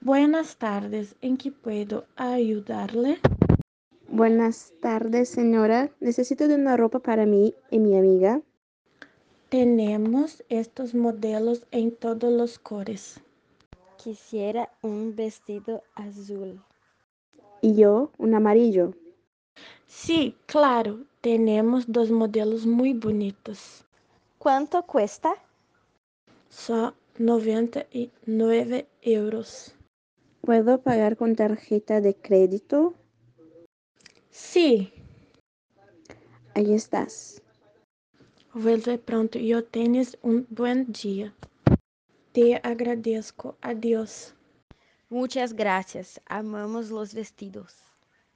Buenas tardes, ¿en qué puedo ayudarle? Buenas tardes, señora. Necesito de una ropa para mí y mi amiga. Tenemos estos modelos en todos los cores. Quisiera un vestido azul. Y yo, un amarillo. Sí, claro, tenemos dos modelos muy bonitos. ¿Cuánto cuesta? Son 99 euros. ¿Puedo pagar con tarjeta de crédito? Sí, Ahí estás. vuelve pronto y tienes un buen día. Te agradezco, adiós. Muchas gracias. Amamos los vestidos.